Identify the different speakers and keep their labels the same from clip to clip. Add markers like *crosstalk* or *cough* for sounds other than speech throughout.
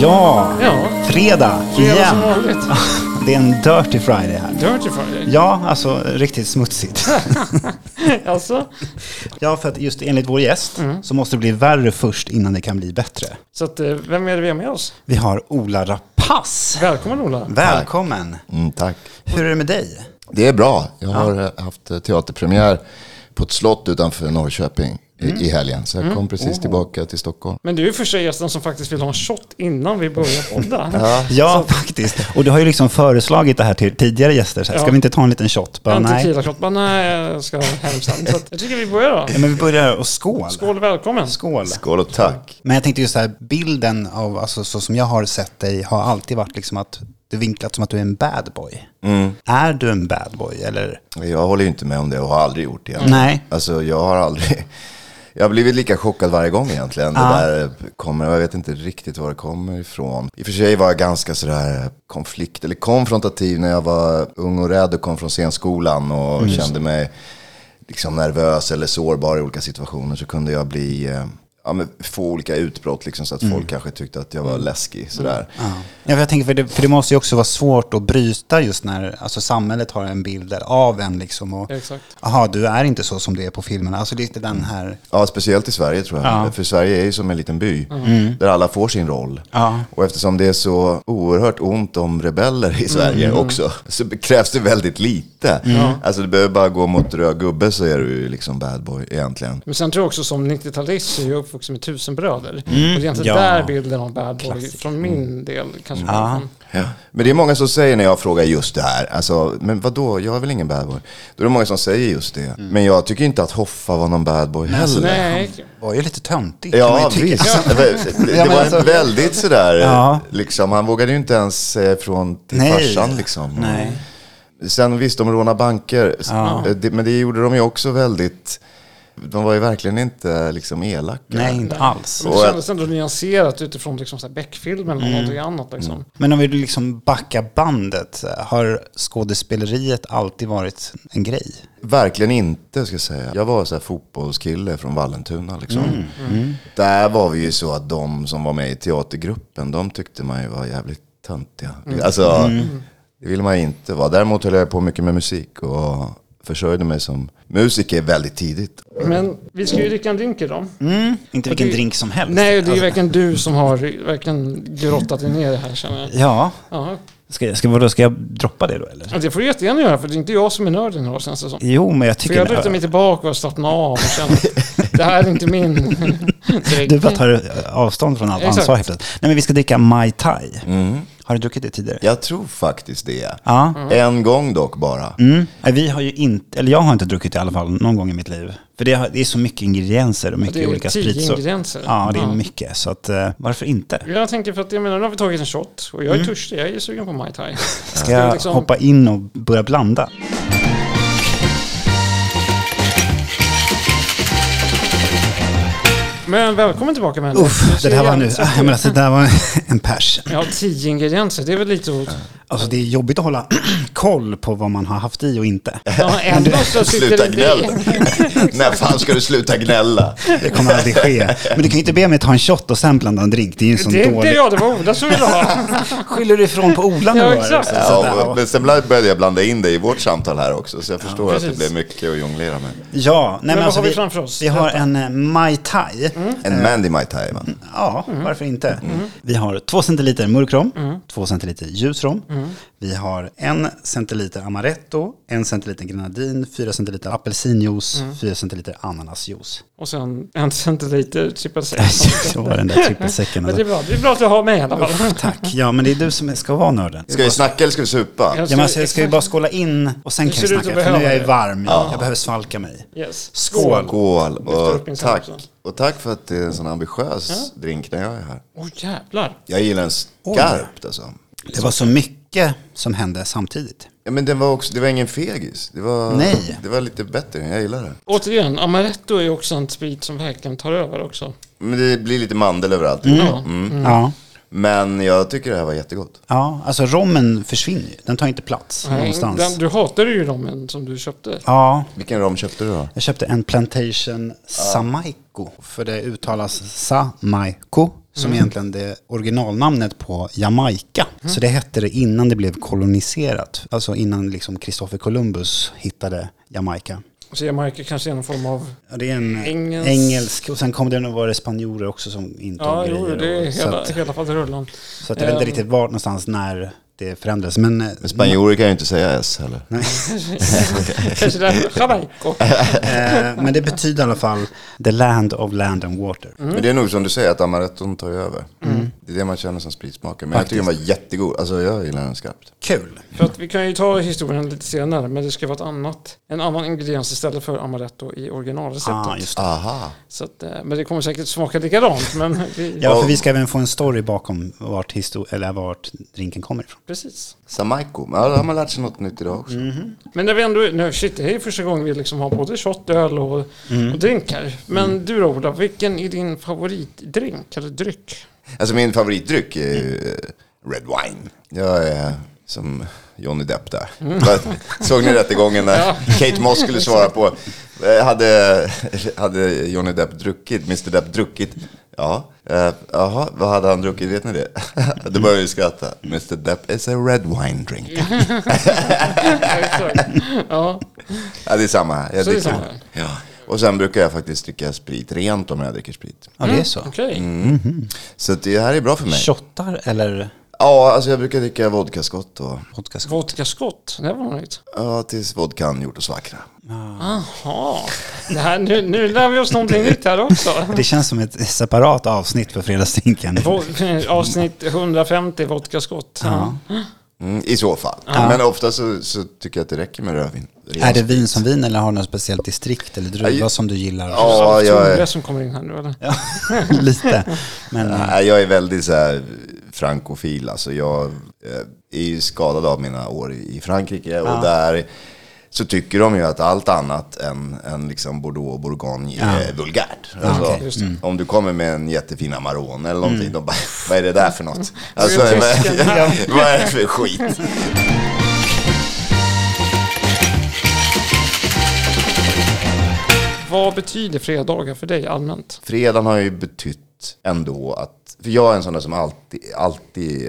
Speaker 1: Ja,
Speaker 2: Ja,
Speaker 1: fredag
Speaker 2: fredag
Speaker 1: igen.
Speaker 2: som vanligt.
Speaker 1: Det är en Dirty Friday här.
Speaker 2: Dirty Friday.
Speaker 1: Ja, alltså riktigt *laughs* smutsigt.
Speaker 2: *laughs* Alltså,
Speaker 1: Ja, för att just enligt vår gäst så måste det bli värre först innan det kan bli bättre.
Speaker 2: så att, eh, vem är det vi har med oss?
Speaker 1: Vi har Ola Rapace.
Speaker 2: Välkommen Ola.
Speaker 1: Välkommen!
Speaker 3: Mm, tack.
Speaker 1: Hur är det med dig?
Speaker 3: Det är bra. Jag har eh, haft eh, teaterpremiär på ett slott utanför Norrköping i, i helgen. Så jag kom precis tillbaka till Stockholm.
Speaker 2: Men du är ju första gästen som faktiskt vill ha en shot innan vi börjar podda. ja.
Speaker 1: Ja, faktiskt. Och du har ju liksom föreslagit det här till tidigare gäster. Så här,
Speaker 2: Ja.
Speaker 1: Ska vi inte ta en liten shot? Bara,
Speaker 2: En
Speaker 1: nej.
Speaker 2: tequila-shot. Bara, nej, jag eh, ska hem sen. Så att, jag tycker vi börjar då.
Speaker 1: Ja, men vi börjar och skål.
Speaker 2: Skål, välkommen.
Speaker 1: Skål.
Speaker 3: Skål och tack.
Speaker 1: Men jag tänkte just så här, bilden av, alltså så som jag har sett dig har alltid varit liksom att du vinklat som att du är en bad boy.
Speaker 3: Mm.
Speaker 1: Är du en bad boy eller?
Speaker 3: Jag håller ju inte med om det och har aldrig gjort det. egentligen.
Speaker 1: Nej.
Speaker 3: Alltså jag har aldrig... *laughs* Jag har blivit lika chockad varje gång egentligen. Det
Speaker 1: Ja.
Speaker 3: där eh, kommer, jag vet inte riktigt var det kommer ifrån. I och för sig var jag ganska sådär konflikt, eller konfrontativ när jag var ung och rädd och kom från scenskolan och
Speaker 1: Mm,
Speaker 3: kände mig liksom nervös eller sårbar i olika situationer så kunde jag bli, eh, ja, men få olika utbrott liksom så att folk kanske tyckte att jag var läskig sådär.
Speaker 1: Mm. Ja, för jag tänker, för det, för det måste ju också vara svårt att bryta just när alltså, samhället har en bild där av en liksom. Och,
Speaker 2: Exakt.
Speaker 1: Jaha, du är inte så som du är på filmerna. Alltså lite
Speaker 3: Mm.
Speaker 1: den här...
Speaker 3: Ja, speciellt i Sverige tror jag. För Sverige är ju som en liten by där alla får sin roll.
Speaker 1: Ja.
Speaker 3: Och eftersom det är så oerhört ont om rebeller i Sverige också så krävs det väldigt lite. Alltså du behöver bara gå mot röd gubbe så är du ju liksom bad boy egentligen.
Speaker 2: Men sen tror jag också som 90-talist så är jag uppvuxen med tusenbröder. Och det är egentligen
Speaker 1: Mm. Ja. Mm.
Speaker 2: där bilden av bad boy från min del kanske kommer
Speaker 1: Ja.
Speaker 2: ifrån.
Speaker 3: Ja. Men det är många som säger när jag frågar just det här, alltså, men vadå, jag är väl ingen bad boy? Då är det många som säger just det. Men jag tycker inte att Hoffa var någon bad boy heller.
Speaker 2: Nej,
Speaker 1: var ju lite töntig. kan man ju
Speaker 3: Ja,
Speaker 1: tycka.
Speaker 3: visst. Det var-
Speaker 1: Ja,
Speaker 3: Det
Speaker 1: men
Speaker 3: var
Speaker 1: alltså-
Speaker 3: en väldigt sådär,
Speaker 1: Ja.
Speaker 3: liksom, han vågade ju inte ens säga från
Speaker 1: *laughs*
Speaker 3: till
Speaker 1: Nej.
Speaker 3: farsan liksom.
Speaker 1: Nej.
Speaker 3: Sen visst, de rånade banker, eh, Det- men det gjorde de ju också väldigt, de var ju verkligen inte liksom elaka.
Speaker 1: Nej, inte alls.
Speaker 2: men det
Speaker 3: Och-
Speaker 2: kändes ändå nyanserat utifrån liksom så här Beck-filmen
Speaker 1: Mm.
Speaker 2: och någonting annat. Liksom.
Speaker 1: Men om vi liksom backar bandet, har skådespeleriet alltid varit en grej?
Speaker 3: Verkligen inte, ska jag säga. Jag var så här fotbollskille från Vallentuna. Liksom. Där var vi ju så att de som var med i teatergruppen, de tyckte man ju var jävligt töntiga. Alltså, det ville man ju inte vara. Däremot höll jag på mycket med musik och försörjde mig som musiker väldigt tidigt.
Speaker 2: Men vi ska ju dricka en drink idag.
Speaker 1: Inte vilken
Speaker 2: Mm. det-
Speaker 1: drink som helst.
Speaker 2: Nej, det är ju
Speaker 1: Alltså,
Speaker 2: verkligen du som har verkligen grottat dig ner i det här känner jag.
Speaker 1: Ja,
Speaker 2: Ja.
Speaker 1: ska, jag- ska, vadå, ska jag droppa det då eller?
Speaker 2: Ja, Det får du jättegärna göra, för det är inte jag som är nörden idag känns det som.
Speaker 1: Jo, men jag
Speaker 2: För
Speaker 1: tycker...
Speaker 2: jag lutar mig tillbaka och slappnar av och känner att det här är
Speaker 1: *laughs*
Speaker 2: inte min dräkt.
Speaker 1: Du bara tar eh, avstånd från allt
Speaker 2: Exakt.
Speaker 1: ansvar helt plötsligt. Nej, men vi ska dricka Mai Tai. Har du druckit det tidigare?
Speaker 3: Jag tror faktiskt det.
Speaker 1: Ja.
Speaker 3: En gång dock bara.
Speaker 1: Mm. Nej, Vi har ju inte, eller jag har inte druckit det i alla fall någon gång i mitt liv. För det, har, det är så mycket ingredienser och mycket
Speaker 2: Det är
Speaker 1: olika
Speaker 2: tio
Speaker 1: spritsor.
Speaker 2: ingredienser.
Speaker 1: Ja, det är
Speaker 2: Ja.
Speaker 1: mycket. Så att, eh, varför inte?
Speaker 2: Jag tänker för att jag menar, nu har vi tagit en shot och jag är törstig, jag är sugen på Mai Tai.
Speaker 1: Mm. Ska jag
Speaker 2: liksom-
Speaker 1: hoppa in och börja blanda?
Speaker 2: Men välkommen tillbaka med
Speaker 1: Uff, det där var nu, *laughs* jag menar, det där var en pers.
Speaker 2: Ja, tio ingredienser, det är väl lite att...
Speaker 1: Alltså det är jobbigt att hålla *clears throat* koll på vad man har haft i och inte.
Speaker 2: Ja, ändå
Speaker 1: *laughs*
Speaker 2: så sitter
Speaker 3: Sluta
Speaker 2: det...
Speaker 3: gnälla. *laughs* När fan ska du sluta gnälla?
Speaker 1: Det kommer aldrig ske. Men du kan ju inte be mig ta en shot och sen blanda en drink. Det är ju en sån
Speaker 2: Det är inte
Speaker 1: dålig...
Speaker 2: jag, det var Ola som ville ha.
Speaker 1: Skyller du ifrån på Ola nu?
Speaker 2: Ja,
Speaker 1: var det?
Speaker 2: exakt.
Speaker 1: Så där,
Speaker 3: Ja,
Speaker 1: va?
Speaker 3: men sen började jag blanda in dig i vårt samtal här också, så jag förstår att det
Speaker 2: precis.
Speaker 3: blev mycket att jonglera med.
Speaker 1: Ja, nej, men
Speaker 2: vad
Speaker 1: alltså
Speaker 2: har vi
Speaker 1: vi,
Speaker 2: framför oss? Mm.
Speaker 1: vi har en eh, Mai Tai.
Speaker 3: En Mandy Mai Tai, va?
Speaker 1: Ja, varför inte? Vi har två centiliter mörkrom,
Speaker 2: Mm.
Speaker 1: två centiliter ljusrom. Vi har en centiliter amaretto, en centiliter grenadin, fyra centiliter apelsinjuice,
Speaker 2: Mm.
Speaker 1: fyra centiliter
Speaker 2: *laughs*
Speaker 1: ananasjuice.
Speaker 2: Och sen en centiliter
Speaker 1: *laughs*
Speaker 2: trippel sex.
Speaker 1: Så var den där trippelsäcken.
Speaker 2: Men det är
Speaker 1: Alltså.
Speaker 2: bra, det är bra att du har med i alla fall.
Speaker 1: Tack. Ja, men det är du som ska vara nörden.
Speaker 3: Ska vi snacka eller ska vi supa?
Speaker 1: Ja, men alltså, jag ska ju bara skåla in och sen kan
Speaker 2: ser
Speaker 1: vi
Speaker 2: ut
Speaker 1: snacka,
Speaker 2: att
Speaker 1: för nu är
Speaker 2: behöva
Speaker 1: jag
Speaker 2: det.
Speaker 1: varm. Jag behöver svalka mig.
Speaker 2: Yes.
Speaker 1: Skål.
Speaker 3: Skål
Speaker 2: Lyfter upp min
Speaker 3: och tack.
Speaker 2: samsa.
Speaker 3: Och tack för att det är en sån ambitiös drink när jag är här.
Speaker 2: Åh jävlar.
Speaker 3: Jag gillar den skarpt alltså.
Speaker 1: Det var så mycket som hände samtidigt.
Speaker 3: Ja, men den var också, det var ingen fegis. Det var,
Speaker 1: Nej.
Speaker 3: det var lite bättre, jag gillar det.
Speaker 2: Återigen, amaretto är också en sprit som verkligen tar över också.
Speaker 3: Men det blir lite mandel överallt.
Speaker 2: Ja.
Speaker 1: Ja.
Speaker 3: Men jag tycker det här var jättegott.
Speaker 1: ja, alltså rommen försvinner ju. Den tar inte plats
Speaker 2: Nej,
Speaker 1: någonstans.
Speaker 2: Mm. Den, du hatade ju rommen som du köpte.
Speaker 1: Ja,
Speaker 3: Vilken rom köpte du då?
Speaker 1: Jag köpte en Plantation Samaiko. För det uttalas Samaiko. som
Speaker 2: Mm.
Speaker 1: egentligen det originalnamnet på Jamaica. Så det hette det innan det blev koloniserat. Alltså innan liksom Christopher Columbus hittade Jamaica.
Speaker 2: Och så Jamaica kanske är någon form av...
Speaker 1: Ja, det är en eh,
Speaker 2: Engelsk.
Speaker 1: engelsk och sen kom det nog vara spanjorer också som intog
Speaker 2: Ja, jo,
Speaker 1: grejer.
Speaker 2: det är
Speaker 1: och, så
Speaker 2: hela,
Speaker 1: att, *laughs*
Speaker 2: hela faderullan.
Speaker 1: så att jag vet
Speaker 2: Ehm.
Speaker 1: inte riktigt var någonstans när det förändrades. Men, eh,
Speaker 3: Men spanjorer kan ju inte säga S heller.
Speaker 2: kanske därför. Jamaica.
Speaker 1: eh, men det betyder i alla fall the land of land and water.
Speaker 3: Men det är nog som du säger, att amaretton tar ju över. Det är det man känner som spritsmaken. Men jag tycker den var jättegod. Alltså jag gillar den skarpt.
Speaker 1: Kul!
Speaker 2: För att vi kan ju ta historien lite senare, men det ska vara ett annat, en annan ingrediens istället för amaretto i originalreceptet.
Speaker 1: Ah, just det.
Speaker 3: Aha.
Speaker 2: så att, eh, men det kommer säkert smaka likadant, men
Speaker 1: *laughs*
Speaker 2: vi,
Speaker 1: Ja, för vi ska även få en story bakom vart, histo- eller vart drinken kommer ifrån.
Speaker 2: precis.
Speaker 3: Samaiko. Ja, då har man lärt sig något nytt idag också.
Speaker 2: Mhm. Men när vi ändå, nu, shit, det här är första gången vi liksom har både shot, öl och, och drinkar. Men du då, Ola, vilken är din favoritdrink eller dryck?
Speaker 3: Alltså min favoritdryck är ju
Speaker 2: Mm.
Speaker 3: eh, red wine. Jag är som Johnny Depp där.
Speaker 2: Mm.
Speaker 3: Vad- Såg ni
Speaker 2: *laughs*
Speaker 3: rättegången när Kate Moss skulle svara på, eh, hade, hade Johnny Depp druckit, Mr Depp druckit? Ja, Eh, jaha, vad hade han druckit, vet ni det? *laughs* Då började vi skratta. Mr Depp is a red wine drink.
Speaker 2: Mm. Exakt. ja,
Speaker 3: Ja, det är samma här. Jag
Speaker 2: Så det är
Speaker 3: dricker-
Speaker 2: samma här.
Speaker 3: Ja. Och sen brukar jag faktiskt dricka sprit rent om jag dricker sprit.
Speaker 1: Ja, det är så.
Speaker 2: okej.
Speaker 3: Så att det här är bra för mig.
Speaker 1: Shottar eller
Speaker 3: Ja, alltså jag brukar dricka vodkaskott och
Speaker 1: vodka?
Speaker 2: Vodkaskott, det var något.
Speaker 3: Ja, tills vodkan gjort oss vackra.
Speaker 2: Aha, det här, nu, nu lär vi oss någonting nytt här också.
Speaker 1: Det känns som ett separat avsnitt för fredagsdrinken.
Speaker 2: Vo- Avsnitt 150, vodkaskott. Ja.
Speaker 3: Mm, I så fall. Men ofta så, så tycker jag att det räcker med rödvin.
Speaker 1: Är det vin som vin eller har du något speciellt distrikt eller druva
Speaker 3: Ja,
Speaker 1: som du gillar?
Speaker 3: Ja, jag
Speaker 2: Det
Speaker 3: är,
Speaker 2: som kommer in här nu eller?
Speaker 1: Ja, *laughs* lite. Men eh,
Speaker 3: nej, jag är väldigt så här frankofil. Alltså jag eh, är ju skadad av mina år i i Frankrike och där så tycker de ju att allt annat än, än liksom Bordeaux och Bourgogne är vulgärt. Alltså,
Speaker 1: okej,
Speaker 2: just det.
Speaker 3: Om du kommer med en jättefin Amarone eller någonting, de bara, vad är det där för något? Alltså,
Speaker 2: är
Speaker 3: vad,
Speaker 2: tysken.
Speaker 3: *laughs* vad är det för skit?
Speaker 2: Vad betyder fredagar för dig allmänt?
Speaker 3: fredagen har ju betytt ändå att, för jag är en sån där som alltid, alltid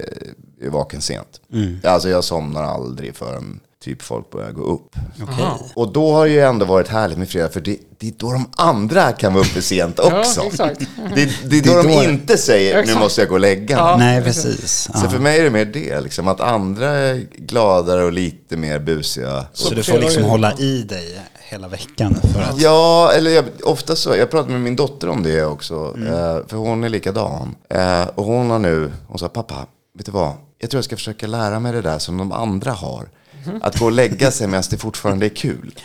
Speaker 3: eh, är vaken sent.
Speaker 1: Mm.
Speaker 3: Alltså jag somnar aldrig förrän typ folk börjar gå upp.
Speaker 2: Aha.
Speaker 3: Och då har det ju ändå varit härligt med fredag, för det, det är då de andra kan vara uppe sent också.
Speaker 2: Ja, exakt.
Speaker 3: Det, det är då
Speaker 1: Det är då-
Speaker 3: de inte säger, nu
Speaker 2: Exakt.
Speaker 3: måste jag gå och lägga mig.
Speaker 2: Ja.
Speaker 1: nej, precis.
Speaker 3: Så
Speaker 1: Ja.
Speaker 3: för mig är det mer det, liksom, att andra är gladare och lite mer busiga.
Speaker 1: Så du får liksom hålla i dig hela veckan för att...
Speaker 3: Ja, eller jag, ofta så. Jag pratade med min dotter om det också. Eh, för hon är likadan. Eh, och hon har nu, hon sa pappa, vet du vad? Jag tror jag ska försöka lära mig det där som de andra har. Att gå och lägga sig medan det fortfarande är kul.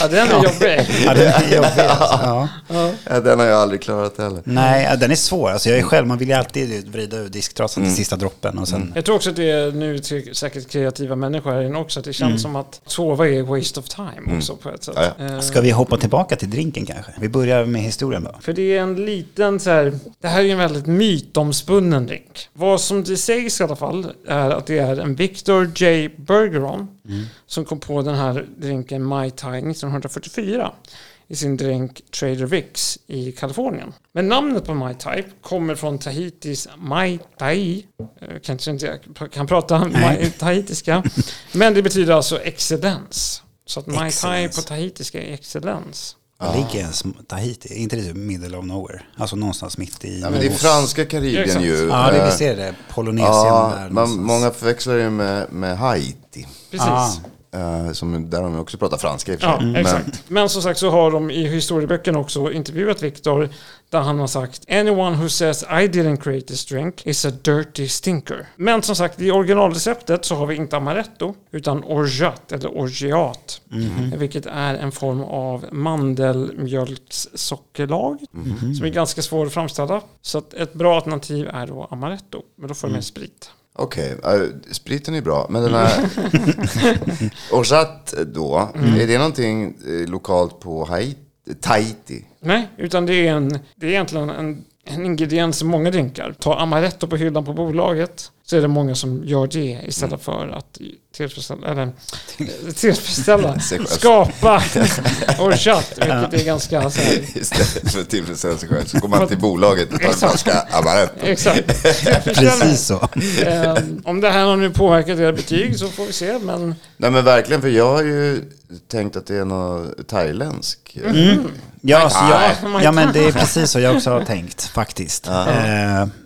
Speaker 2: Ja, den är jobbig.
Speaker 1: Ja, den
Speaker 3: *laughs*
Speaker 1: är jobbig, alltså. ja.
Speaker 3: Eh, Den har jag aldrig klarat heller.
Speaker 1: Nej, ja, den är svår. Alltså, jag är själv, man vill ju alltid vrida ur disktrasan
Speaker 3: Mm.
Speaker 1: till sista droppen och sen...
Speaker 2: Jag tror också att det är nu till- säkert kreativa människor här inne också, att det känns som att sova är waste of time också på ett sätt.
Speaker 3: Mm. Ja,
Speaker 2: Eh,
Speaker 1: Ska vi hoppa tillbaka till drinken kanske? Vi börjar med historien då.
Speaker 2: För det är en liten så här, det här är ju en väldigt mytomspunnen drink. Vad som det sägs i alla fall är att det är en Victor J. Bergeron som kom på den här drinken Mai Tai 1944 i sin drink Trader Vicks i Kalifornien. Men namnet på Mai Tai kommer från Tahitis Mai Tai, Eh, kanske inte jag kan prata Mai- tahitiska, men det betyder alltså excellens. Så att Mai Tai
Speaker 1: Excellence.
Speaker 2: på tahitiska är excellens.
Speaker 1: Var ligger ens Tahiti? Är inte det typ middle of nowhere? Alltså någonstans mitt i...
Speaker 3: Ja, men det är franska Karibien
Speaker 2: Exakt.
Speaker 3: ju.
Speaker 1: Ja, det
Speaker 3: Eh,
Speaker 1: vi ser det. Polynesien
Speaker 3: ja,
Speaker 1: där
Speaker 3: man,
Speaker 1: någonstans.
Speaker 3: Många förväxlar ju med, med Haiti.
Speaker 2: Precis.
Speaker 1: Ah.
Speaker 3: Eh, som, där har man också pratat franska i och för
Speaker 2: Ja,
Speaker 3: sig. Mm. Men,
Speaker 2: exakt. Liksom. Men som sagt så har de i historieböckerna också intervjuat Victor där han har sagt “Anyone who says I didn't create this drink is a dirty stinker”. Men som sagt, i originalreceptet så har vi inte amaretto utan orgeat, eller orgeat, vilket är en form av mandelmjölkssockerlag som är ganska svår att framställa. Så att ett bra alternativ är då amaretto, men då får du med sprit.
Speaker 3: Okej, eh, spriten är bra, men den här... Orgeat då, är det någonting eh, lokalt på Haiti? Tahiti?
Speaker 2: Nej, utan det är, en, det är egentligen en, en ingrediens i många drinkar. Ta amaretto på hyllan på bolaget så är det många som gör det istället för att tillfredsställa,
Speaker 1: *laughs*
Speaker 2: eller, tillfredsställa
Speaker 3: Sig själv.
Speaker 2: skapa orchat, vilket är ganska så här,
Speaker 3: Istället för att tillfredsställa sig själv så går man till bolaget och tar en flaska Amaretto.
Speaker 2: Exakt. Tillfredsställa.
Speaker 1: *laughs* Precis så.
Speaker 2: Ehm, om det här har nu påverkat era betyg så får vi se, men
Speaker 3: Nej men verkligen, för jag har ju tänkt att det är något thailändsk.
Speaker 1: Ja, så alltså,
Speaker 2: Oh
Speaker 1: jag,
Speaker 2: my
Speaker 1: ja, men det är precis så jag också har tänkt faktiskt. Eh,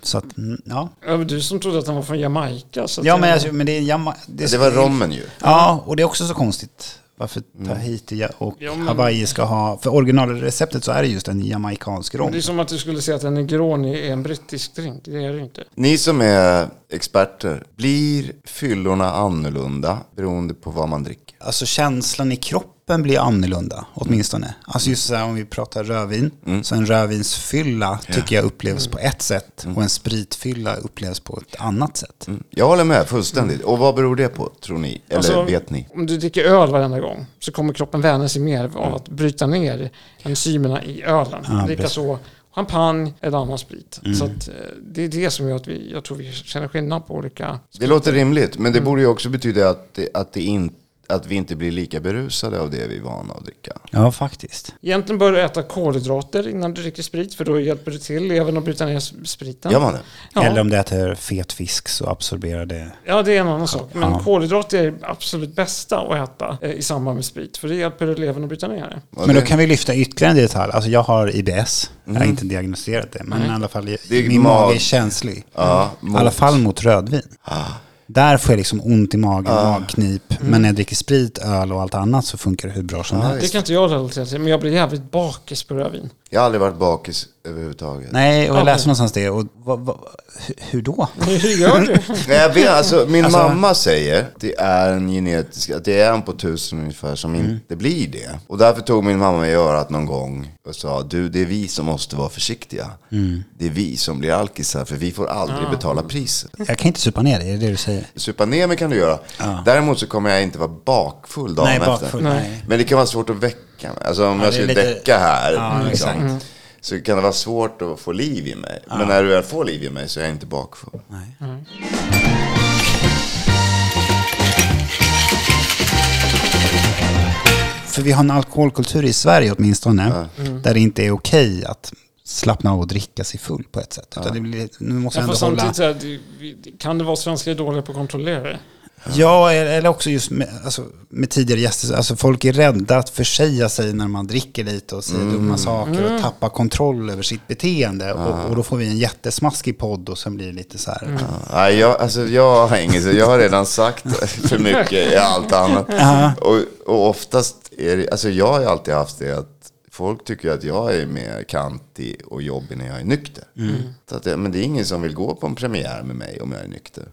Speaker 1: så att, mm, ja.
Speaker 2: ja, men eh, du som trodde att han var från Jamaica. Så att
Speaker 1: ja,
Speaker 2: det-
Speaker 1: men, jag, men det är jamma,
Speaker 3: Det var rommen ju.
Speaker 1: Ja, och det är också så konstigt. Varför Tahiti och
Speaker 2: Ja, men-
Speaker 1: Hawaii ska ha... För originalreceptet så är det just en jamaicansk rom.
Speaker 2: det är som att du skulle säga att en Negroni är en brittisk drink. Det är det ju inte.
Speaker 3: Ni som är experter, blir fyllorna annorlunda beroende på vad man dricker?
Speaker 1: Alltså känslan i kroppen blir annorlunda, åtminstone. Alltså just så här, om vi pratar rödvin, så en rödvinsfylla tycker jag upplevs på ett sätt och en spritfylla upplevs på ett annat sätt.
Speaker 3: Jag håller med fullständigt. Och vad beror det på, tror ni? Eller
Speaker 2: Alltså,
Speaker 3: vet ni?
Speaker 2: Om du dricker öl varenda gång så kommer kroppen vänja sig mer av att bryta ner enzymerna i ölen.
Speaker 1: Ja,
Speaker 2: Likaså champagne eller annan sprit. Så att, eh, det är det som gör att vi, jag tror vi känner skillnad på olika.
Speaker 3: Det låter rimligt, men det
Speaker 1: Mm.
Speaker 3: borde ju också betyda att, det, att, det in, att vi inte blir lika berusade av det vi är vana att dricka.
Speaker 1: Ja, faktiskt.
Speaker 2: Egentligen bör du äta kolhydrater innan du dricker sprit för då hjälper du till även att bryta ner s- spriten.
Speaker 3: Gör man det?
Speaker 2: Ja.
Speaker 1: Eller om du äter fet fisk så absorberar det...
Speaker 2: Ja, det är en annan sak. Men
Speaker 1: Ja.
Speaker 2: kolhydrater är det absolut bästa att äta eh, i samband med sprit. För det hjälper levern att bryta ner det.
Speaker 3: Och
Speaker 1: Men då
Speaker 3: det- Mm.
Speaker 1: kan vi lyfta ytterligare en detalj. Alltså jag har IBS. Jag har inte diagnostiserat det, men i alla fall
Speaker 3: Det är
Speaker 1: min
Speaker 3: mag-
Speaker 1: mage är känslig.
Speaker 3: Ja,
Speaker 1: Mm.
Speaker 3: Ah.
Speaker 1: I alla fall mot rödvin. Där får jag liksom ont i magen, magknip.
Speaker 3: Mm.
Speaker 1: Men när jag dricker sprit, öl och allt annat så funkar det hur bra
Speaker 3: Ah,
Speaker 1: som helst.
Speaker 2: Det kan inte jag relatera till, men jag blir jävligt bakis på rödvin.
Speaker 3: Jag har aldrig varit bakis överhuvudtaget. Nej.
Speaker 1: Nej, och
Speaker 2: Ja,
Speaker 1: jag läste
Speaker 2: men-
Speaker 1: någonstans det. Och vad- vad- hu- hur då?
Speaker 2: Hur gör du?
Speaker 3: jag vet, alltså, min
Speaker 1: Alltså-
Speaker 3: mamma säger att det är en genetisk, att det är en på tusen ungefär som
Speaker 1: Mm.
Speaker 3: inte blir det. Och därför tog min mamma i örat någon gång och sa, du det är vi som måste vara försiktiga.
Speaker 1: Mm.
Speaker 3: Det är vi som blir alkisar för vi får
Speaker 1: Ah.
Speaker 3: aldrig betala priset.
Speaker 1: Jag kan inte supa ner dig, är det det du säger?
Speaker 3: Supa ner mig kan du göra. Däremot så kommer jag inte vara bakfull dagen
Speaker 1: Nej,
Speaker 3: efter.
Speaker 1: bakfull. Nej.
Speaker 3: Men det kan vara svårt att väcka mig. Alltså om
Speaker 1: Ja,
Speaker 3: jag
Speaker 1: det är
Speaker 3: skulle
Speaker 1: lite-
Speaker 3: däcka här.
Speaker 1: Ja,
Speaker 3: liksom,
Speaker 1: exakt. Mm.
Speaker 3: Så kan det vara svårt att få liv i mig. Men när du väl får liv i mig så är jag inte bakfull.
Speaker 1: Nej. För vi har en alkoholkultur i Sverige åtminstone,
Speaker 3: Ah.
Speaker 1: där det inte är okej att slappna av och dricka sig full på ett
Speaker 3: Ah.
Speaker 1: sätt. Utan det blir, nu måste
Speaker 2: Ja,
Speaker 1: jag
Speaker 2: fast
Speaker 1: ändå hålla...
Speaker 2: samtidigt så här, det, vi- kan det vara att svenskar är dåliga på att kontrollera det?
Speaker 1: Ja, eller också just med, alltså, med tidigare gäster. Alltså, folk är rädda att försäga sig när man dricker lite och säger dumma saker och tappar kontroll över sitt beteende. Och, och då får vi en jättesmaskig podd och sen blir det lite så här.
Speaker 3: Nej, jag, alltså, jag har inget, jag har redan sagt för mycket i allt annat. Och, och oftast är det, alltså jag har ju alltid haft det att folk tycker att jag är mer kantig och jobbig när jag är nykter. Så att, det- men det är ingen som vill gå på en premiär med mig om jag är nykter.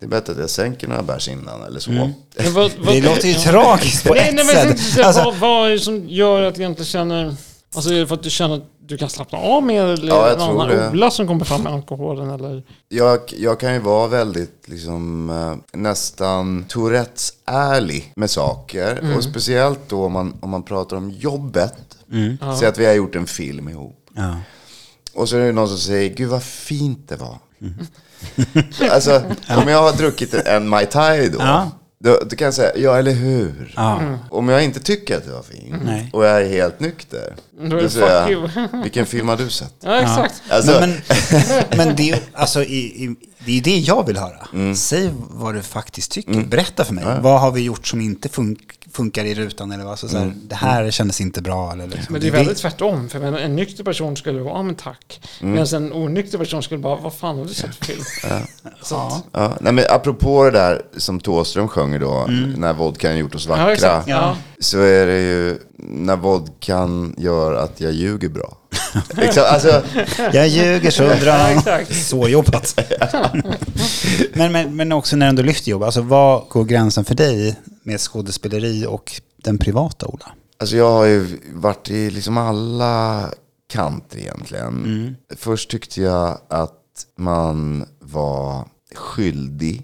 Speaker 3: Det är bättre att jag sänker några bärs innan eller så.
Speaker 2: Men vad- vad-
Speaker 1: Det låter ju
Speaker 2: Ja.
Speaker 1: tragiskt på
Speaker 2: Nej,
Speaker 1: ett
Speaker 2: nej, men jag tänkte
Speaker 1: sätt.
Speaker 2: säga,
Speaker 1: Alltså,
Speaker 2: vad, vad är det som gör att du egentligen känner... Alltså är det för att du känner att du kan slappna av mer eller
Speaker 3: Ja,
Speaker 2: är
Speaker 3: jag
Speaker 2: det en
Speaker 3: tror
Speaker 2: annan
Speaker 3: det.
Speaker 2: Ola som kommer fram med alkoholen eller?
Speaker 3: Jag, jag kan ju vara väldigt liksom, eh, nästan Tourettes ärlig med saker.
Speaker 2: Mm.
Speaker 3: Och speciellt då om man, om man pratar om jobbet.
Speaker 2: Mm.
Speaker 3: Säg att vi har gjort en film ihop.
Speaker 1: ja.
Speaker 3: Och så är det någon som säger, gud vad fint det var.
Speaker 2: Mm.
Speaker 3: *laughs* alltså, om jag har druckit en Mai Tai då.
Speaker 1: Ja.
Speaker 3: Då, då kan jag säga, ja eller hur? Mm.
Speaker 1: Ja.
Speaker 3: Om jag inte tycker att det var fint
Speaker 1: Nej.
Speaker 3: och jag är helt nykter.
Speaker 2: Mm. Då är det fuck you.
Speaker 3: vilken film har du sett?
Speaker 2: Ja, exakt.
Speaker 3: Alltså,
Speaker 1: men, men, men det, är ju- alltså, i, i, det är det jag vill höra. Säg vad du faktiskt tycker. Berätta för mig. Vad har vi gjort som inte fun- funkar i rutan? Eller vad? Alltså, så här, Det här kändes inte bra. Eller, liksom.
Speaker 2: Men det är väldigt tvärtom. För jag menar, en nykter person skulle vara, ja men tack.
Speaker 3: Mm.
Speaker 2: Medan en onykter person skulle bara, vad fan har du sett för film? Så att-
Speaker 3: Ja, nej men apropå det där som Thåström sjunger då, när vodkan gjort oss
Speaker 2: Mm. Ja,
Speaker 3: vackra.
Speaker 2: exakt. Ja.
Speaker 3: Så är det ju när vodkan gör att jag ljuger bra. *laughs* Exakt, alltså,
Speaker 1: Jag ljuger så
Speaker 2: Ja,
Speaker 1: undrar
Speaker 2: exakt.
Speaker 1: Så jobbat. *laughs* men, men, men också när du ändå lyfter jobb. Alltså, vad går gränsen för dig med skådespeleri och den privata Ola?
Speaker 3: alltså jag har ju varit i liksom alla kanter egentligen.
Speaker 2: Mm.
Speaker 3: Först tyckte jag att man var
Speaker 2: Mm. Mm.
Speaker 3: skyldig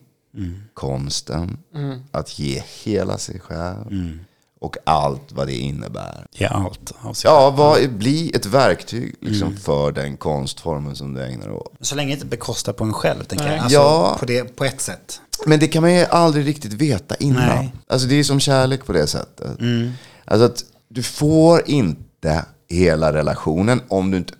Speaker 3: konsten att ge hela sig själv. och allt vad det innebär.
Speaker 1: Ge allt av sig.
Speaker 3: Ja, vad, bli ett verktyg liksom,
Speaker 1: Mm.
Speaker 3: för den konstformen som du ägnar dig åt.
Speaker 1: Så länge det inte bekostar på en själv, tänker jag.
Speaker 2: Nej.
Speaker 1: Alltså,
Speaker 3: Ja.
Speaker 1: på, det, på ett sätt.
Speaker 3: Men det kan man ju aldrig riktigt veta innan.
Speaker 1: Nej. Mm.
Speaker 3: Alltså det är som kärlek på det sättet. Alltså att du får inte hela relationen om du inte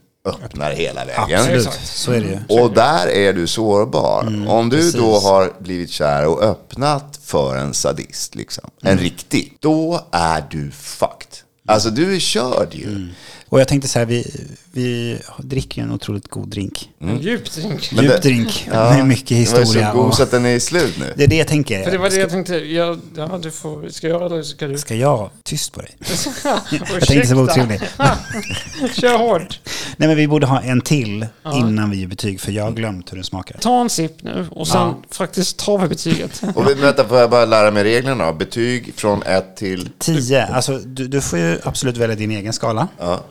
Speaker 3: öppnar hela vägen.
Speaker 1: Absolut, Mm,
Speaker 2: exakt.
Speaker 1: så är det ju.
Speaker 3: Och där är du sårbar. Om du då har blivit kär och öppnat för en sadist, liksom, en
Speaker 1: Mm.
Speaker 3: riktig, då är du fucked. Alltså du är körd ju.
Speaker 1: Mm. Och jag tänkte så här, vi, vi dricker ju en otroligt god drink.
Speaker 3: Mm.
Speaker 2: En djup drink.
Speaker 1: Djup drink med mycket
Speaker 3: Den
Speaker 1: historia.
Speaker 3: var ju så god
Speaker 1: och,
Speaker 3: så att den är slut nu.
Speaker 1: det är det jag tänker.
Speaker 2: För det var det
Speaker 1: ska,
Speaker 2: jag tänkte, ja, ja du får, ska jag eller ska du?
Speaker 1: ska jag tyst
Speaker 2: *laughs*
Speaker 1: på dig? Jag tänkte så var
Speaker 2: Ursäkta.
Speaker 1: otrolig.
Speaker 2: Kör hårt.
Speaker 1: Nej men vi borde ha en till innan vi ger betyg för jag har glömt hur den smakar.
Speaker 2: Ta en sipp nu och sen faktiskt tar
Speaker 1: *laughs*
Speaker 2: vi betyget.
Speaker 3: Och vänta, får jag bara lära mig reglerna då? Betyg från ett till...
Speaker 1: 10, alltså du, du får ju absolut välja din egen skala.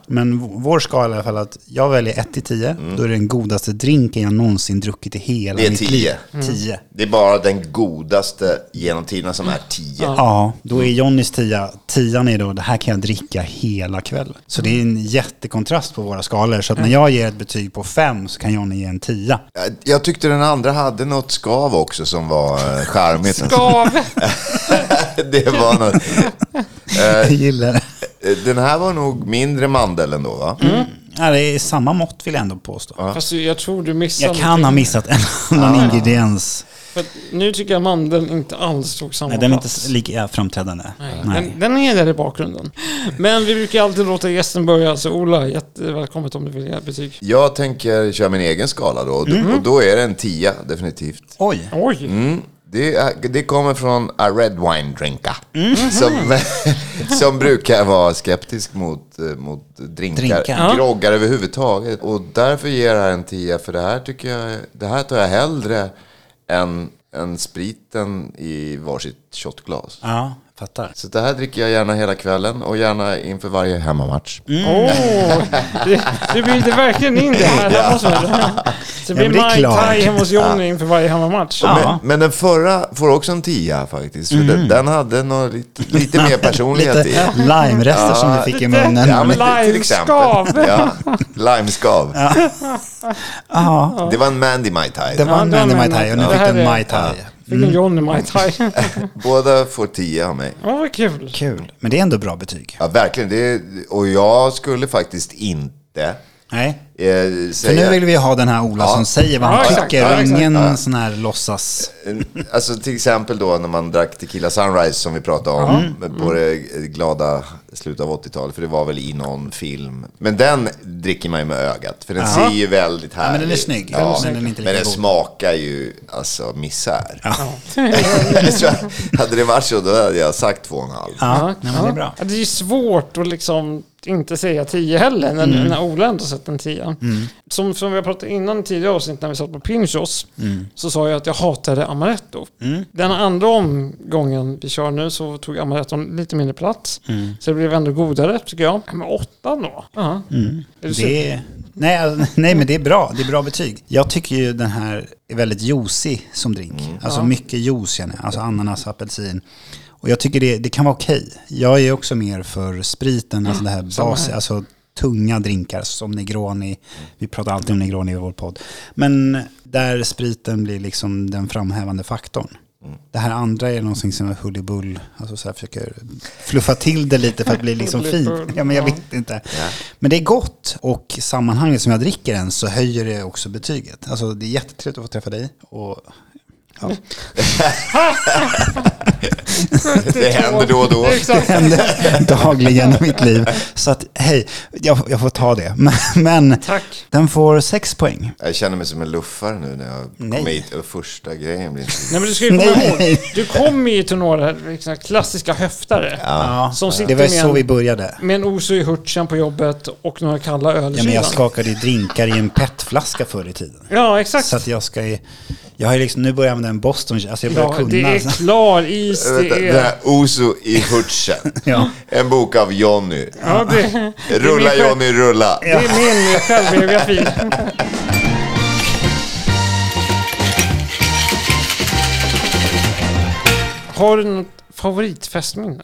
Speaker 1: Men v- vår skala i alla fall att jag väljer 1 till 10, då är det den godaste drinken jag någonsin druckit i hela
Speaker 3: Mm. Det är
Speaker 1: mitt
Speaker 3: 10.
Speaker 1: liv. 10.
Speaker 3: Det är bara den godaste genom tiderna som är 10.
Speaker 1: Ja, då är Johnnys tia, tian är då det här kan jag dricka hela kvällen. Så det är en jättekontrast på våra skalor. Så att när jag ger ett betyg på fem så kan Johnny ge en tia.
Speaker 3: Jag- Jag tyckte den andra hade något skav också som var eh, charmigt.
Speaker 2: Gav.
Speaker 3: *laughs* Det var något.
Speaker 1: *laughs* Jag gillar det.
Speaker 3: Eh, Den här var nog mindre mandel ändå va?
Speaker 1: Ja, det är samma mått vill jag ändå påstå.
Speaker 2: Fast jag tror du missade
Speaker 1: Jag kan ha
Speaker 2: någonting.
Speaker 1: missat en annan ingrediens.
Speaker 2: För att nu tycker jag mandeln inte alls tog samma
Speaker 1: Nej, den är inte
Speaker 2: plats.
Speaker 1: s- lika framträdande. Nej.
Speaker 2: Den, den är där i bakgrunden. Men vi brukar alltid låta gästen börja, så Ola, jättevälkommet om du vill ge betyg.
Speaker 3: Jag tänker köra min egen skala då. Och då- Och då är det en tia definitivt.
Speaker 1: Oj,
Speaker 2: Oj!
Speaker 1: Mm.
Speaker 3: Mm. Det, är, det kommer från a red wine drinker.
Speaker 1: Mm.
Speaker 3: Som, *laughs* som brukar vara skeptisk mot, eh, mot drinkar.
Speaker 1: Drinkar.
Speaker 2: Ja.
Speaker 3: Groggar överhuvudtaget. Och därför ger jag det här en tia. För det här tycker jag, det här tar jag hellre än, än spriten i varsitt shotglas.
Speaker 1: ja, fattar.
Speaker 3: Så det här dricker jag gärna hela kvällen och gärna inför varje hemmamatch.
Speaker 2: Åh! det, det bjuder verkligen in det här hemma hos mig. Så det
Speaker 1: men
Speaker 2: blir
Speaker 1: det är
Speaker 2: Mike
Speaker 1: klart.
Speaker 2: Thai hemma hos Johnny inför varje hemmamatch.
Speaker 1: Ja. Mm.
Speaker 3: Men, men den förra får också en tia faktiskt. För den, den hade något lite, lite
Speaker 1: *laughs*
Speaker 3: mer personlighet i.
Speaker 1: Lite *laughs* limerester som du fick i munnen.
Speaker 3: Ja, men
Speaker 2: Limeskav.
Speaker 3: till- till exempel. Ja, *laughs* limeskav. Det var en Mandy Mai Tai.
Speaker 1: Det var en
Speaker 2: Ja, det var
Speaker 1: Mandy
Speaker 2: en
Speaker 1: Mai Tai och nu
Speaker 2: Mandy.
Speaker 1: fick
Speaker 2: Det här
Speaker 1: du en
Speaker 2: är-
Speaker 1: Mai Tai.
Speaker 2: Fick en
Speaker 1: Mm.
Speaker 2: Johnny Mike Thai.
Speaker 3: Båda får tia av mig.
Speaker 2: Åh, vad kul!
Speaker 1: Kul, men det är ändå bra betyg.
Speaker 3: Ja, verkligen. Det, är- och jag skulle faktiskt inte
Speaker 1: Nej.
Speaker 3: eh,
Speaker 1: För nu
Speaker 3: säga...
Speaker 1: vill vi ha den här Ola
Speaker 3: Ja.
Speaker 1: som säger vad han
Speaker 2: Ja, exakt.
Speaker 1: tycker
Speaker 2: Ja,
Speaker 1: och
Speaker 2: exakt.
Speaker 1: ingen
Speaker 3: Ja.
Speaker 1: sån här låtsas...
Speaker 3: Alltså till exempel då när man drack Tequila Sunrise som vi pratade om
Speaker 1: Mm.
Speaker 3: på det glada slutet av 80-talet. För det var väl i någon film. Men den dricker man ju med ögat. För den ser ju väldigt härlig
Speaker 1: men den är
Speaker 3: ut.
Speaker 1: snygg.
Speaker 3: Ja,
Speaker 1: Den är snygg. Men den är inte
Speaker 3: men
Speaker 1: lika
Speaker 3: den
Speaker 1: god.
Speaker 3: smakar ju alltså misär. *laughs* så hade det varit så då hade jag sagt två och en halv.
Speaker 1: Ja, nej, men det är bra.
Speaker 2: Ja, det är ju svårt att liksom inte säga 10 heller när,
Speaker 1: Mm.
Speaker 2: när Ola ändå sett en 10. Som, som vi har pratat innan i tidigare avsnitt när vi satt på Pinchos
Speaker 1: Mm.
Speaker 2: så sa jag att jag hatade Amaretto. Den andra omgången vi kör nu så tog Amaretto lite mindre plats.
Speaker 1: Mm.
Speaker 2: Så det blev ändå godare tycker jag. Men åtta då? Ja. Är du sur?
Speaker 1: Mm. Det är, nej, alltså, *laughs* nej, men det är bra. Det är bra betyg. Jag tycker ju den här är väldigt juicy som drink. Alltså mycket juice känner jag. Alltså ananas, apelsin. Och jag tycker det, det kan vara okej. Jag är också mer för spriten, alltså det här bas, alltså tunga drinkar som Negroni. Vi pratar alltid om Negroni i vår podd. Men där spriten blir liksom den framhävande faktorn. Det här andra är någonting som är hull alltså så här försöker fluffa till det lite för att
Speaker 2: *laughs*
Speaker 1: bli liksom fint.
Speaker 2: Hull i bull,
Speaker 1: Ja, men jag
Speaker 2: ja.
Speaker 1: vet inte. Men det är gott och i sammanhanget som jag dricker den så höjer det också betyget. Alltså det är jättetrevligt att få träffa dig och *laughs* ja,
Speaker 3: Det händer då
Speaker 2: *laughs*
Speaker 3: och då.
Speaker 2: Exakt.
Speaker 1: det händer dagligen i mitt liv. Så att hej, jag, jag får ta det. Men, men
Speaker 2: Tack.
Speaker 1: den får sex poäng.
Speaker 3: Jag känner mig som en luffare nu när jag
Speaker 1: Nej.
Speaker 3: kommer hit. Och första grejen blir...
Speaker 2: Nej men du ska ju komma
Speaker 1: Nej.
Speaker 2: ihåg, du kommer ju till några liksom, klassiska höftare.
Speaker 1: Ja,
Speaker 2: Som sitter
Speaker 1: det var ju
Speaker 2: med
Speaker 1: så
Speaker 2: en-
Speaker 1: vi började.
Speaker 2: Med en osig hurtsen på jobbet och några kalla öl i
Speaker 1: Ja, men jag
Speaker 2: kylen.
Speaker 1: skakade ju drinkar i en petflaska förr i tiden.
Speaker 2: Ja, exakt.
Speaker 1: Så att jag ska ju, jag har ju liksom, nu börjar jag använda en Boston, alltså jag börjar
Speaker 2: Ja,
Speaker 1: kunna.
Speaker 2: det är klar is,
Speaker 3: Vänta,
Speaker 2: det
Speaker 3: den
Speaker 2: är...
Speaker 3: här Oso i Hurtsen.
Speaker 1: Ja.
Speaker 3: En bok av Jonny.
Speaker 2: Ja, det,
Speaker 3: Rulla
Speaker 2: det är min-
Speaker 3: Jonny, rulla.
Speaker 2: Det är *laughs* min självbiografi. Har du något favoritfestminne?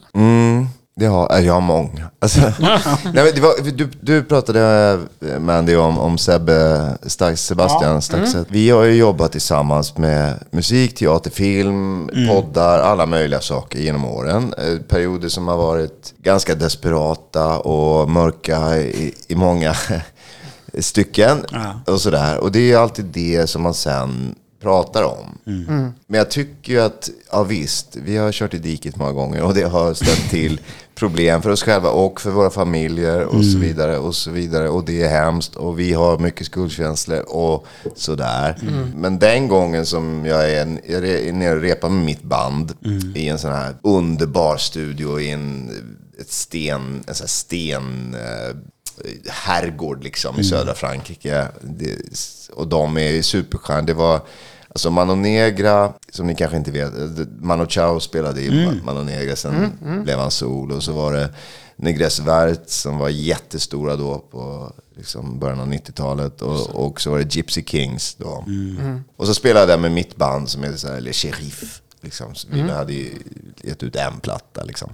Speaker 3: Det har, äh, jag har många. Alltså, nej, men det var, du, du pratade eh, Mandy om, om Sebbe Stax, Sebastian Staxet. Vi har ju jobbat tillsammans med musik, teater, film, poddar, alla möjliga saker genom åren. Eh, Perioder som har varit ganska desperata och mörka i, i många *laughs* stycken och sådär. Och det är ju alltid det som man sen pratar om. Men jag tycker ju att, ja visst, vi har kört i diket många gånger och det har ställt till problem för oss själva och för våra familjer och så vidare och så vidare och det är hemskt och vi har mycket skuldkänslor och sådär. Men den gången som jag är, en- jag är nere och repar med mitt band i en sån här underbar studio i en, ett sten, en sån här sten eh, herrgård liksom i södra Frankrike. Det, och de är ju superstjärnor. Det var alltså Mano Negra, som ni kanske inte vet, eh, Mano Chao spelade i Ma- Mano Negra, sen blev han sol och så var det Negres Vert som var jättestora då på liksom början av 90-talet och, och så var det Gypsy Kings då. Och så spelade jag med mitt band som heter så här, Le Sheriff. Liksom. Så Vi hade ju gett ut en platta liksom.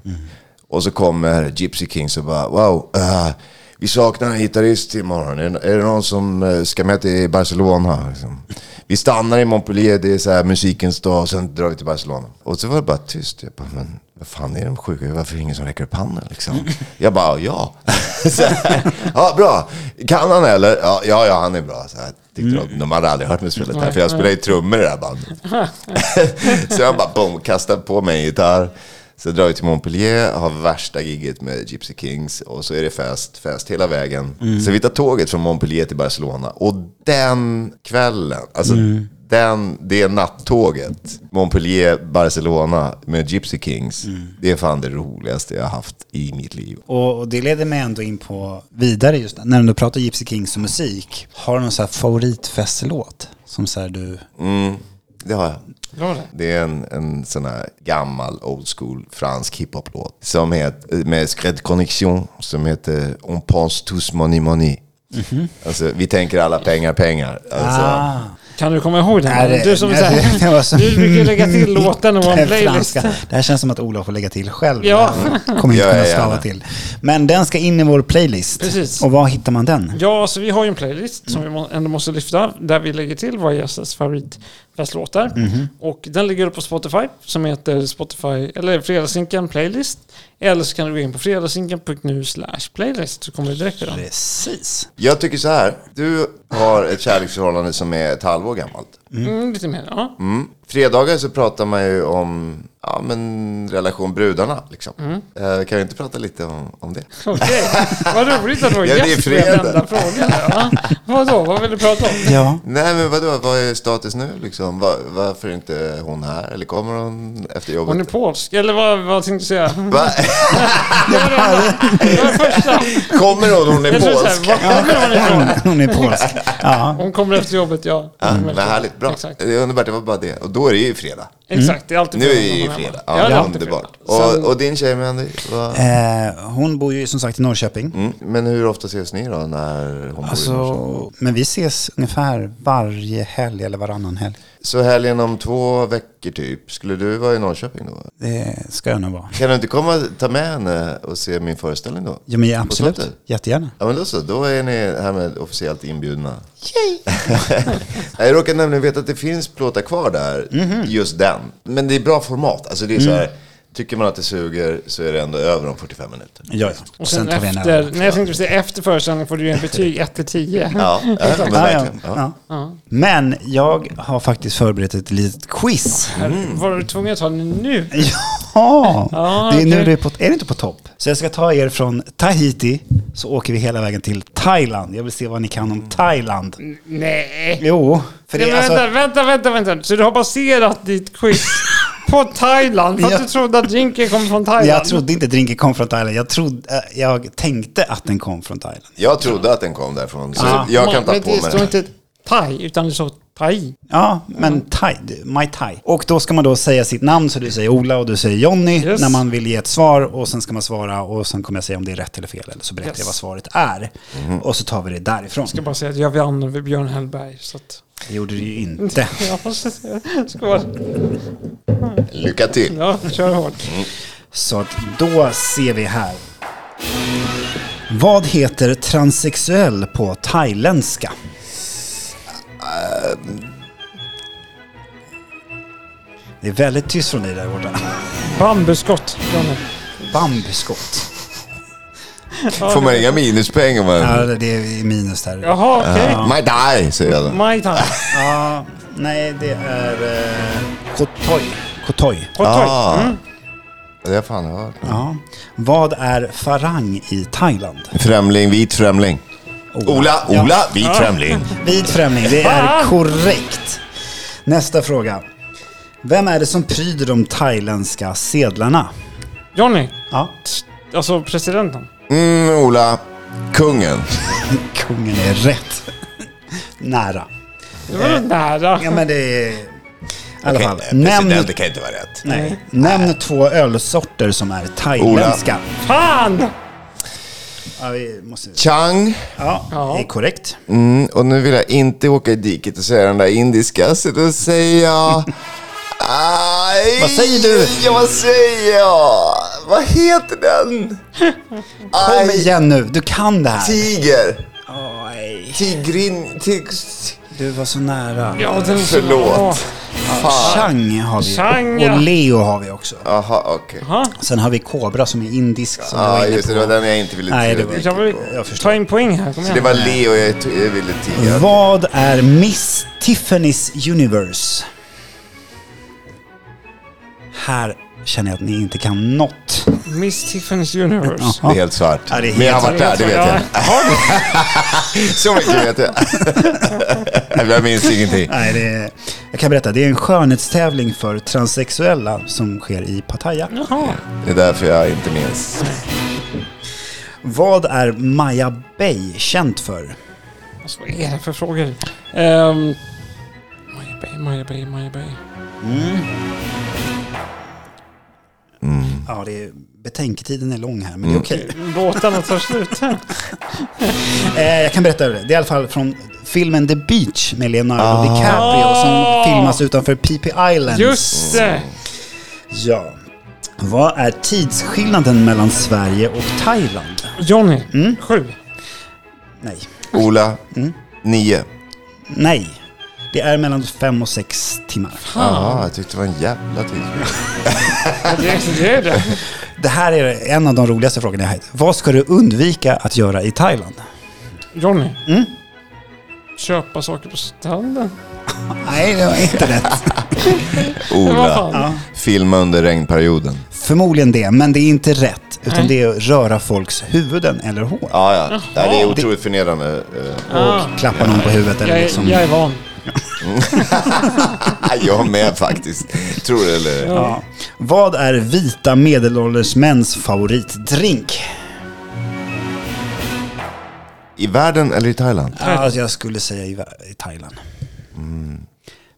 Speaker 3: Och så kommer Gypsy Kings och bara wow, eh, vi saknar en gitarrist imorgon. Är, är det någon som eh, ska med till Barcelona? Liksom. Vi stannar i Montpellier, det är så här musikens dag och sen drar vi till Barcelona. Och så var det bara tyst. Jag bara, men vad fan är de sjuka? Varför är det ingen som räcker upp handen liksom? Jag bara, ja. *laughs* Så här, ja, bra. Kan han eller? Ja, ja, ja han är bra. Så här, tyckte de, de hade aldrig hört mig spela gitarr, för jag spelar ju trummor i det här bandet. *laughs* så jag bara boom, kastar på mig en gitarr. Så drar vi till Montpellier, har värsta gigget med Gypsy Kings och så är det fest, fest hela vägen. Så vi tar tåget från Montpellier till Barcelona och den kvällen, alltså den, det nattåget, Montpellier-Barcelona med Gypsy Kings, det är fan det roligaste jag har haft i mitt liv.
Speaker 1: Och och det leder mig ändå in på vidare just när du pratar Gypsy Kings och musik. Har du någon så här favoritfestlåt? Som så här du...
Speaker 3: Mm, det har jag.
Speaker 2: Bra det.
Speaker 3: Det är en, en sån här gammal old school fransk hiphop-låt som heter, med Scred Connection som heter On pense tous money money. Alltså, vi tänker alla pengar, pengar. Alltså,
Speaker 1: Ah.
Speaker 2: Kan du komma ihåg den?
Speaker 1: Nej, det-
Speaker 2: du som
Speaker 1: nej,
Speaker 2: så här,
Speaker 1: *laughs* det- det var så-
Speaker 2: du brukar ju lägga
Speaker 1: *laughs*
Speaker 2: till låten och vara en
Speaker 1: Den
Speaker 2: playlist.
Speaker 1: franska. Det här känns som att Olof får lägga till själv.
Speaker 2: Ja.
Speaker 1: Jag kommer inte
Speaker 3: Gör jag
Speaker 1: kunna stava
Speaker 3: gärna.
Speaker 1: till. Men den ska in i vår playlist.
Speaker 2: Precis.
Speaker 1: Och var hittar man den?
Speaker 2: Ja, så vi har ju en playlist som vi må- ändå måste lyfta där vi lägger till våra gästers favoritfestlåtar.
Speaker 3: Mm-hmm.
Speaker 2: Och den ligger på Spotify som heter Spotify, eller Fredagssinken Playlist. Eller så kan du gå in på fredagsinken.nu slash playlist så kommer du direkt till den.
Speaker 1: Precis.
Speaker 3: jag tycker så här, du har ett kärleksförhållande som är ett halvår gammalt.
Speaker 2: Mm, lite mer, ja.
Speaker 3: Mm. Fredagar så pratar man ju om ja, men, relation brudarna. Liksom. Eh, kan vi inte prata lite om, om det?
Speaker 2: Okej, vad roligt att vara
Speaker 3: Ja, det är
Speaker 2: gäst på den
Speaker 3: fredag.
Speaker 2: enda frågan. Ja. Vadå, vad vill du prata om?
Speaker 1: Ja.
Speaker 3: Nej men vadå, vad är status nu liksom? Va- varför är inte hon här? Eller kommer hon efter jobbet?
Speaker 2: Hon är polsk, eller vad, vad tänkte du
Speaker 3: *laughs*
Speaker 2: säga?
Speaker 3: Va?
Speaker 2: Det var det enda- det var det första.
Speaker 3: Kommer hon? Hon är
Speaker 2: Jag tror så
Speaker 3: polsk.
Speaker 2: här, var kommer hon ifrån?
Speaker 1: Hon är polsk. Ja.
Speaker 2: Hon kommer efter jobbet, ja.
Speaker 3: Ja, men härligt, bra.
Speaker 2: Exakt.
Speaker 3: Det är underbart, det var bara det. Och då är det ju fredag.
Speaker 2: Exakt, det är alltid
Speaker 3: Nu är
Speaker 2: fredag när
Speaker 3: det ju
Speaker 2: man är
Speaker 3: fredag.
Speaker 2: hemma. Ja,
Speaker 3: Ja,
Speaker 2: det är alltid
Speaker 3: underbart.
Speaker 2: fredag. Sen-
Speaker 3: Och, och din tjej Mandy? vad-
Speaker 1: Eh, hon bor ju som sagt i Norrköping.
Speaker 3: Mm. Men hur ofta ses ni då när hon bor i Norrköping?
Speaker 1: Alltså, men vi ses ungefär varje helg eller varannan helg.
Speaker 3: Så helgen om två veckor typ, skulle du vara i Norrköping då?
Speaker 1: Det ska jag nog vara.
Speaker 3: Kan du inte komma och ta med henne och se min föreställning då?
Speaker 1: Ja, men
Speaker 3: Och sånt
Speaker 1: absolut.
Speaker 3: där.
Speaker 1: Jättegärna.
Speaker 3: Ja men då så, då är ni härmed officiellt inbjudna. *laughs* jag råkar nämligen veta att det finns plåtar kvar där, just den. Men det är bra format, alltså det är så här, tycker man att det suger så är det ändå över om 45 minuter.
Speaker 1: Ja, ja.
Speaker 2: Och sen,
Speaker 1: tar vi en
Speaker 2: efter,
Speaker 1: öl.
Speaker 2: nej, jag tänkte precis, säga, efter föreställningen får du ju en betyg 1 till 10.
Speaker 3: Ja, ja, men
Speaker 1: Ja, ja.
Speaker 3: verkligen. Ja.
Speaker 1: Ja. Men jag har faktiskt förberett ett litet quiz.
Speaker 2: Var du tvungen att ta den nu?
Speaker 1: Ja,
Speaker 2: Ja,
Speaker 1: det är, nu
Speaker 2: okej.
Speaker 1: det är, på, är det inte på topp? Så jag ska ta er från Tahiti, så åker vi hela vägen till Thailand. Jag vill se vad ni kan
Speaker 2: Mm.
Speaker 1: om Thailand.
Speaker 2: Nej.
Speaker 1: Jo, för det
Speaker 2: nej
Speaker 1: är
Speaker 2: men
Speaker 1: alltså...
Speaker 2: vänta, vänta, vänta, vänta. Så du har baserat ditt quiz på Thailand? För att
Speaker 1: Ja.
Speaker 2: du trodde att drinken kom från Thailand?
Speaker 1: Jag trodde inte drinken kom från Thailand. Jag, trodde, eh, jag tänkte att den kom från Thailand.
Speaker 3: Jag trodde att den kom därifrån, så jag kan ta
Speaker 2: men
Speaker 3: på
Speaker 2: det
Speaker 3: mig
Speaker 2: står
Speaker 3: den.
Speaker 2: inte thai, utan det står thai.
Speaker 1: Ja, men thai, my thai. Och då ska man då säga sitt namn, så du säger Ola och du säger Jonny
Speaker 2: Yes.
Speaker 1: när man vill ge ett svar och sen ska man svara och sen kommer jag säga om det är rätt eller fel eller så berättar
Speaker 2: Yes.
Speaker 1: jag vad svaret är. Och så tar vi det därifrån.
Speaker 2: Jag ska bara säga att jag vann över Björn Hellberg. Så att,
Speaker 1: Det gjorde du
Speaker 2: *laughs*
Speaker 1: ju inte.
Speaker 2: ja, så- skål.
Speaker 3: Lycka till! Mm.
Speaker 2: Ja, kör hårt.
Speaker 1: Så att då ser vi här. Vad heter transsexuell på thailändska? Det är väldigt tyst från dig där borta.
Speaker 2: Bambuskott. Johnny.
Speaker 1: Bambuskott.
Speaker 3: Får man inga minuspoäng om man...
Speaker 2: Mm.
Speaker 1: Ja, det är minus där.
Speaker 2: Jaha, okej.
Speaker 3: My die, säger jag då.
Speaker 2: My time.
Speaker 1: Ja, nej, det är eh, Kotoy. Kotoy.
Speaker 2: Hot
Speaker 3: Ah.
Speaker 2: toy. Mm.
Speaker 3: Det har jag fan hört.
Speaker 1: Ja. Vad är farang i Thailand?
Speaker 3: Främling, vit främling. Ola,
Speaker 1: Ja.
Speaker 3: Ola, vit främling.
Speaker 1: Vit främling, det är
Speaker 2: Fan!
Speaker 1: korrekt. Nästa fråga. Vem är det som pryder de thailändska sedlarna?
Speaker 2: Johnny.
Speaker 1: Ja,
Speaker 2: Alltså presidenten.
Speaker 3: Mm, Ola, kungen.
Speaker 1: kungen är rätt. *laughs* Nära.
Speaker 2: Det var nära.
Speaker 1: Ja, men det är... I alla fall.
Speaker 3: Okej,
Speaker 1: Nämn,
Speaker 3: President, det kan inte vara rätt.
Speaker 1: nej, nämn två ölsorter som är thailändska.
Speaker 2: Fan!
Speaker 1: Ja, vi måste,
Speaker 3: Chang.
Speaker 1: ja,
Speaker 2: Ja.
Speaker 1: det är korrekt.
Speaker 3: Mm, och nu vill jag inte åka i diket och säga den där indiska, så då säger jag... Aj,
Speaker 1: Vad säger du?
Speaker 3: Ja, vad säger jag? Vad heter den?
Speaker 1: *laughs* Kom
Speaker 3: Aj,
Speaker 1: igen nu, du kan det här.
Speaker 3: tiger.
Speaker 1: Oj,
Speaker 3: Tigrin... Tig...
Speaker 1: du var så nära.
Speaker 2: Ja, den
Speaker 3: Förlåt. Fan.
Speaker 1: Chang har vi
Speaker 2: Chang, ja.
Speaker 1: och Leo har vi också.
Speaker 3: Jaha, okej.
Speaker 2: Jaha.
Speaker 1: Sen har vi Kobra som är indisk som du
Speaker 3: Ja,
Speaker 1: var inne
Speaker 3: just det. Det var
Speaker 1: på.
Speaker 3: den jag inte ville
Speaker 1: Nej, det
Speaker 3: tiga
Speaker 1: var-
Speaker 2: Jag vill
Speaker 3: på.
Speaker 1: Jag förstår.
Speaker 2: ta in poäng här. Kom
Speaker 3: Det
Speaker 2: igen.
Speaker 3: var Leo jag, t- jag ville
Speaker 1: Mm.
Speaker 3: tiga.
Speaker 1: Vad är Miss Tiffany's Universe? Här känner jag att ni inte kan något.
Speaker 2: Miss Tiffany's Universe.
Speaker 3: Det är helt svart.
Speaker 1: Ja, det är helt
Speaker 3: Men jag har varit där, det vet jag.
Speaker 2: Ja. Har du?
Speaker 3: *laughs* Så mycket vet jag.
Speaker 1: *laughs*
Speaker 3: jag *laughs* minns ingenting.
Speaker 1: *laughs* Nej, det är, jag kan berätta, det är en skönhetstävling för transsexuella som sker i Pattaya.
Speaker 2: Jaha.
Speaker 3: Det är därför jag inte minns.
Speaker 1: Vad är Maja Bay känd för?
Speaker 2: Alltså, vad är det för frågor? Um, Maja Bay, Maja Bay, Maja Bay.
Speaker 1: Ja, det är, betänketiden är lång här, men det är okej.
Speaker 2: Låtarna tar slut.
Speaker 3: *laughs*
Speaker 1: Eh, jag kan berätta det. Det är i alla fall från filmen The Beach med Leonardo DiCaprio som
Speaker 2: Ah.
Speaker 1: filmas utanför Phi Islands.
Speaker 2: Just det!
Speaker 3: Mm.
Speaker 1: Ja. Vad är tidsskillnaden mellan Sverige och Thailand?
Speaker 2: Johnny,
Speaker 3: Mm.
Speaker 2: sju.
Speaker 1: Nej.
Speaker 3: Ola, mm, nio.
Speaker 1: Nej. Det är mellan fem och sex timmar.
Speaker 3: Jaha, jag tyckte det var en jävla
Speaker 2: *laughs*
Speaker 3: tidsskillnad.
Speaker 2: Ja, Det, det är det.
Speaker 1: Det här är en av de roligaste frågorna jag har hittat. Vad ska du undvika att göra i Thailand?
Speaker 2: Johnny.
Speaker 3: Mm.
Speaker 2: Köpa saker på stranden.
Speaker 1: Nej, det var inte rätt.
Speaker 2: Vad
Speaker 3: Ola,
Speaker 2: fan?
Speaker 3: filma under regnperioden.
Speaker 1: Förmodligen det, men det är inte rätt. Utan
Speaker 2: Nej.
Speaker 1: det är att röra folks huvuden eller hår.
Speaker 3: Ja, ja. Nej, det är otroligt förnedrande.
Speaker 2: *laughs*
Speaker 3: eh,
Speaker 2: Ah,
Speaker 1: Klappa någon på huvudet eller
Speaker 2: jag,
Speaker 1: liksom...
Speaker 2: är- jag är van.
Speaker 3: Jag med faktiskt. Tror det eller
Speaker 2: Ja.
Speaker 1: Ja. Vad är vita medelålders mäns favoritdrink?
Speaker 3: I världen eller i Thailand?
Speaker 1: Ja, Alltså, jag skulle säga i, i Thailand.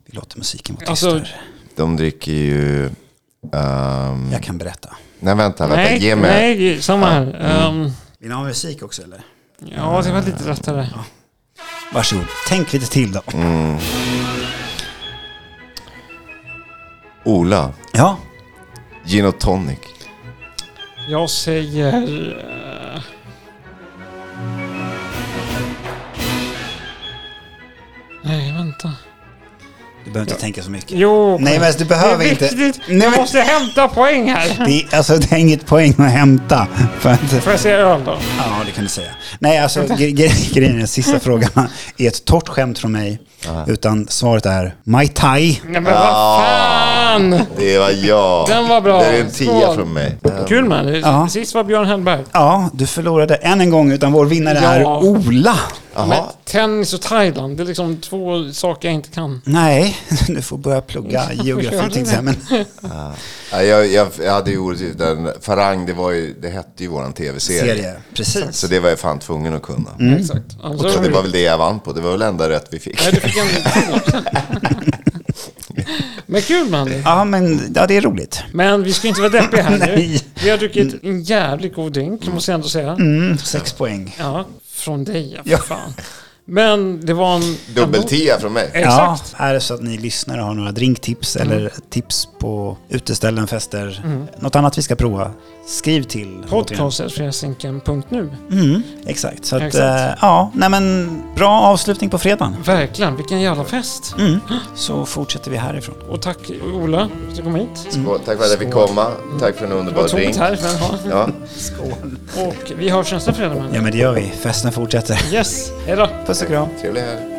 Speaker 1: Vi låter musiken vara tyst
Speaker 2: Alltså-
Speaker 1: här.
Speaker 3: De dricker ju... ehm,
Speaker 1: Jag kan berätta.
Speaker 3: Nej, vänta, vänta.
Speaker 2: Nej,
Speaker 3: Ge mig. Mm.
Speaker 2: nej, samma här. Ehm,
Speaker 1: Vill ni ha musik också eller?
Speaker 2: ja, det var lite rättare.
Speaker 1: Varsågod, tänk lite till då.
Speaker 3: Ola,
Speaker 1: Ja,
Speaker 3: gin och tonic.
Speaker 2: Jag säger... eh, Nej, vänta.
Speaker 1: du behöver inte tänka så mycket.
Speaker 2: Jo,
Speaker 1: Nej men du behöver
Speaker 2: det är
Speaker 1: inte.
Speaker 2: viktigt.
Speaker 1: Nej,
Speaker 2: Jag
Speaker 1: men,
Speaker 2: måste hämta poäng här.
Speaker 1: det, är- alltså, det är inget poäng att hämta. *laughs* För att,
Speaker 2: Får jag säga öl då?
Speaker 1: ja, det kan du säga. Nej, alltså gre- gre- grejen är den sista frågan är ett torrt skämt från mig. Utan svaret är Mai Tai.
Speaker 2: Nej men vad fan!
Speaker 3: Det var jag.
Speaker 2: Den var bra.
Speaker 3: Det är en tia
Speaker 2: Skål.
Speaker 3: från mig.
Speaker 2: Kul man.
Speaker 1: Ja.
Speaker 2: Sist var Björn Hellberg.
Speaker 1: Ja, du förlorade än en gång utan vår vinnare
Speaker 2: Ja.
Speaker 1: är Ola.
Speaker 2: Men
Speaker 3: Jaha.
Speaker 2: tennis och Thailand, det är liksom två saker jag inte
Speaker 1: Mm.
Speaker 2: kan.
Speaker 1: Nej, *laughs* du får börja plugga geografi
Speaker 2: gör
Speaker 1: tänkte jag
Speaker 2: det.
Speaker 1: säga, men *laughs*
Speaker 3: Ja, Jag, jag, jag hade ju orättvist. Den- Farang, det, var ju, det hette ju våran tv-serie.
Speaker 1: serie. Precis.
Speaker 3: Så det var jag fan tvungen att kunna.
Speaker 2: Exakt. Alltså,
Speaker 3: Så det var väl det jag vann på. Det var väl enda rätt vi fick.
Speaker 2: Nej, du fick
Speaker 1: *laughs*
Speaker 2: en två. Men kul man.
Speaker 1: Ja, men ja, det är roligt.
Speaker 2: Men vi ska inte vara
Speaker 1: *laughs*
Speaker 2: deppiga här nu.
Speaker 1: Nej.
Speaker 2: Vi har druckit en jävligt god drink, måste jag ändå säga.
Speaker 1: Mm, sex poäng.
Speaker 2: Ja, från dig, ja, för
Speaker 1: Ja.
Speaker 2: fan. Men det var en...
Speaker 3: Dubbel-tia från mig.
Speaker 1: Ja,
Speaker 2: Exakt.
Speaker 1: är det så att ni lyssnare har några drinktips eller tips på uteställen, fester, något annat vi ska prova, skriv till.
Speaker 2: Podcast.fredagsdrinken.nu.
Speaker 1: Mm, exakt. Så att,
Speaker 2: Exakt.
Speaker 1: eh, ja, nej men bra avslutning på fredagen.
Speaker 2: Verkligen, vilken jävla fest.
Speaker 1: Mm. Så fortsätter vi härifrån.
Speaker 2: Och tack Ola för att du kom hit.
Speaker 3: Skål. Tack för att jag fick komma. Tack för en
Speaker 2: Det
Speaker 3: underbar
Speaker 2: var tomt
Speaker 3: drink.
Speaker 2: här, men ja.
Speaker 3: Ja.
Speaker 2: Och vi hörs nästa fredag.
Speaker 1: Ja,
Speaker 2: men.
Speaker 1: men det gör vi. Festen fortsätter.
Speaker 2: Yes, hejdå.
Speaker 1: Puss och kram.
Speaker 3: Trevlig helg.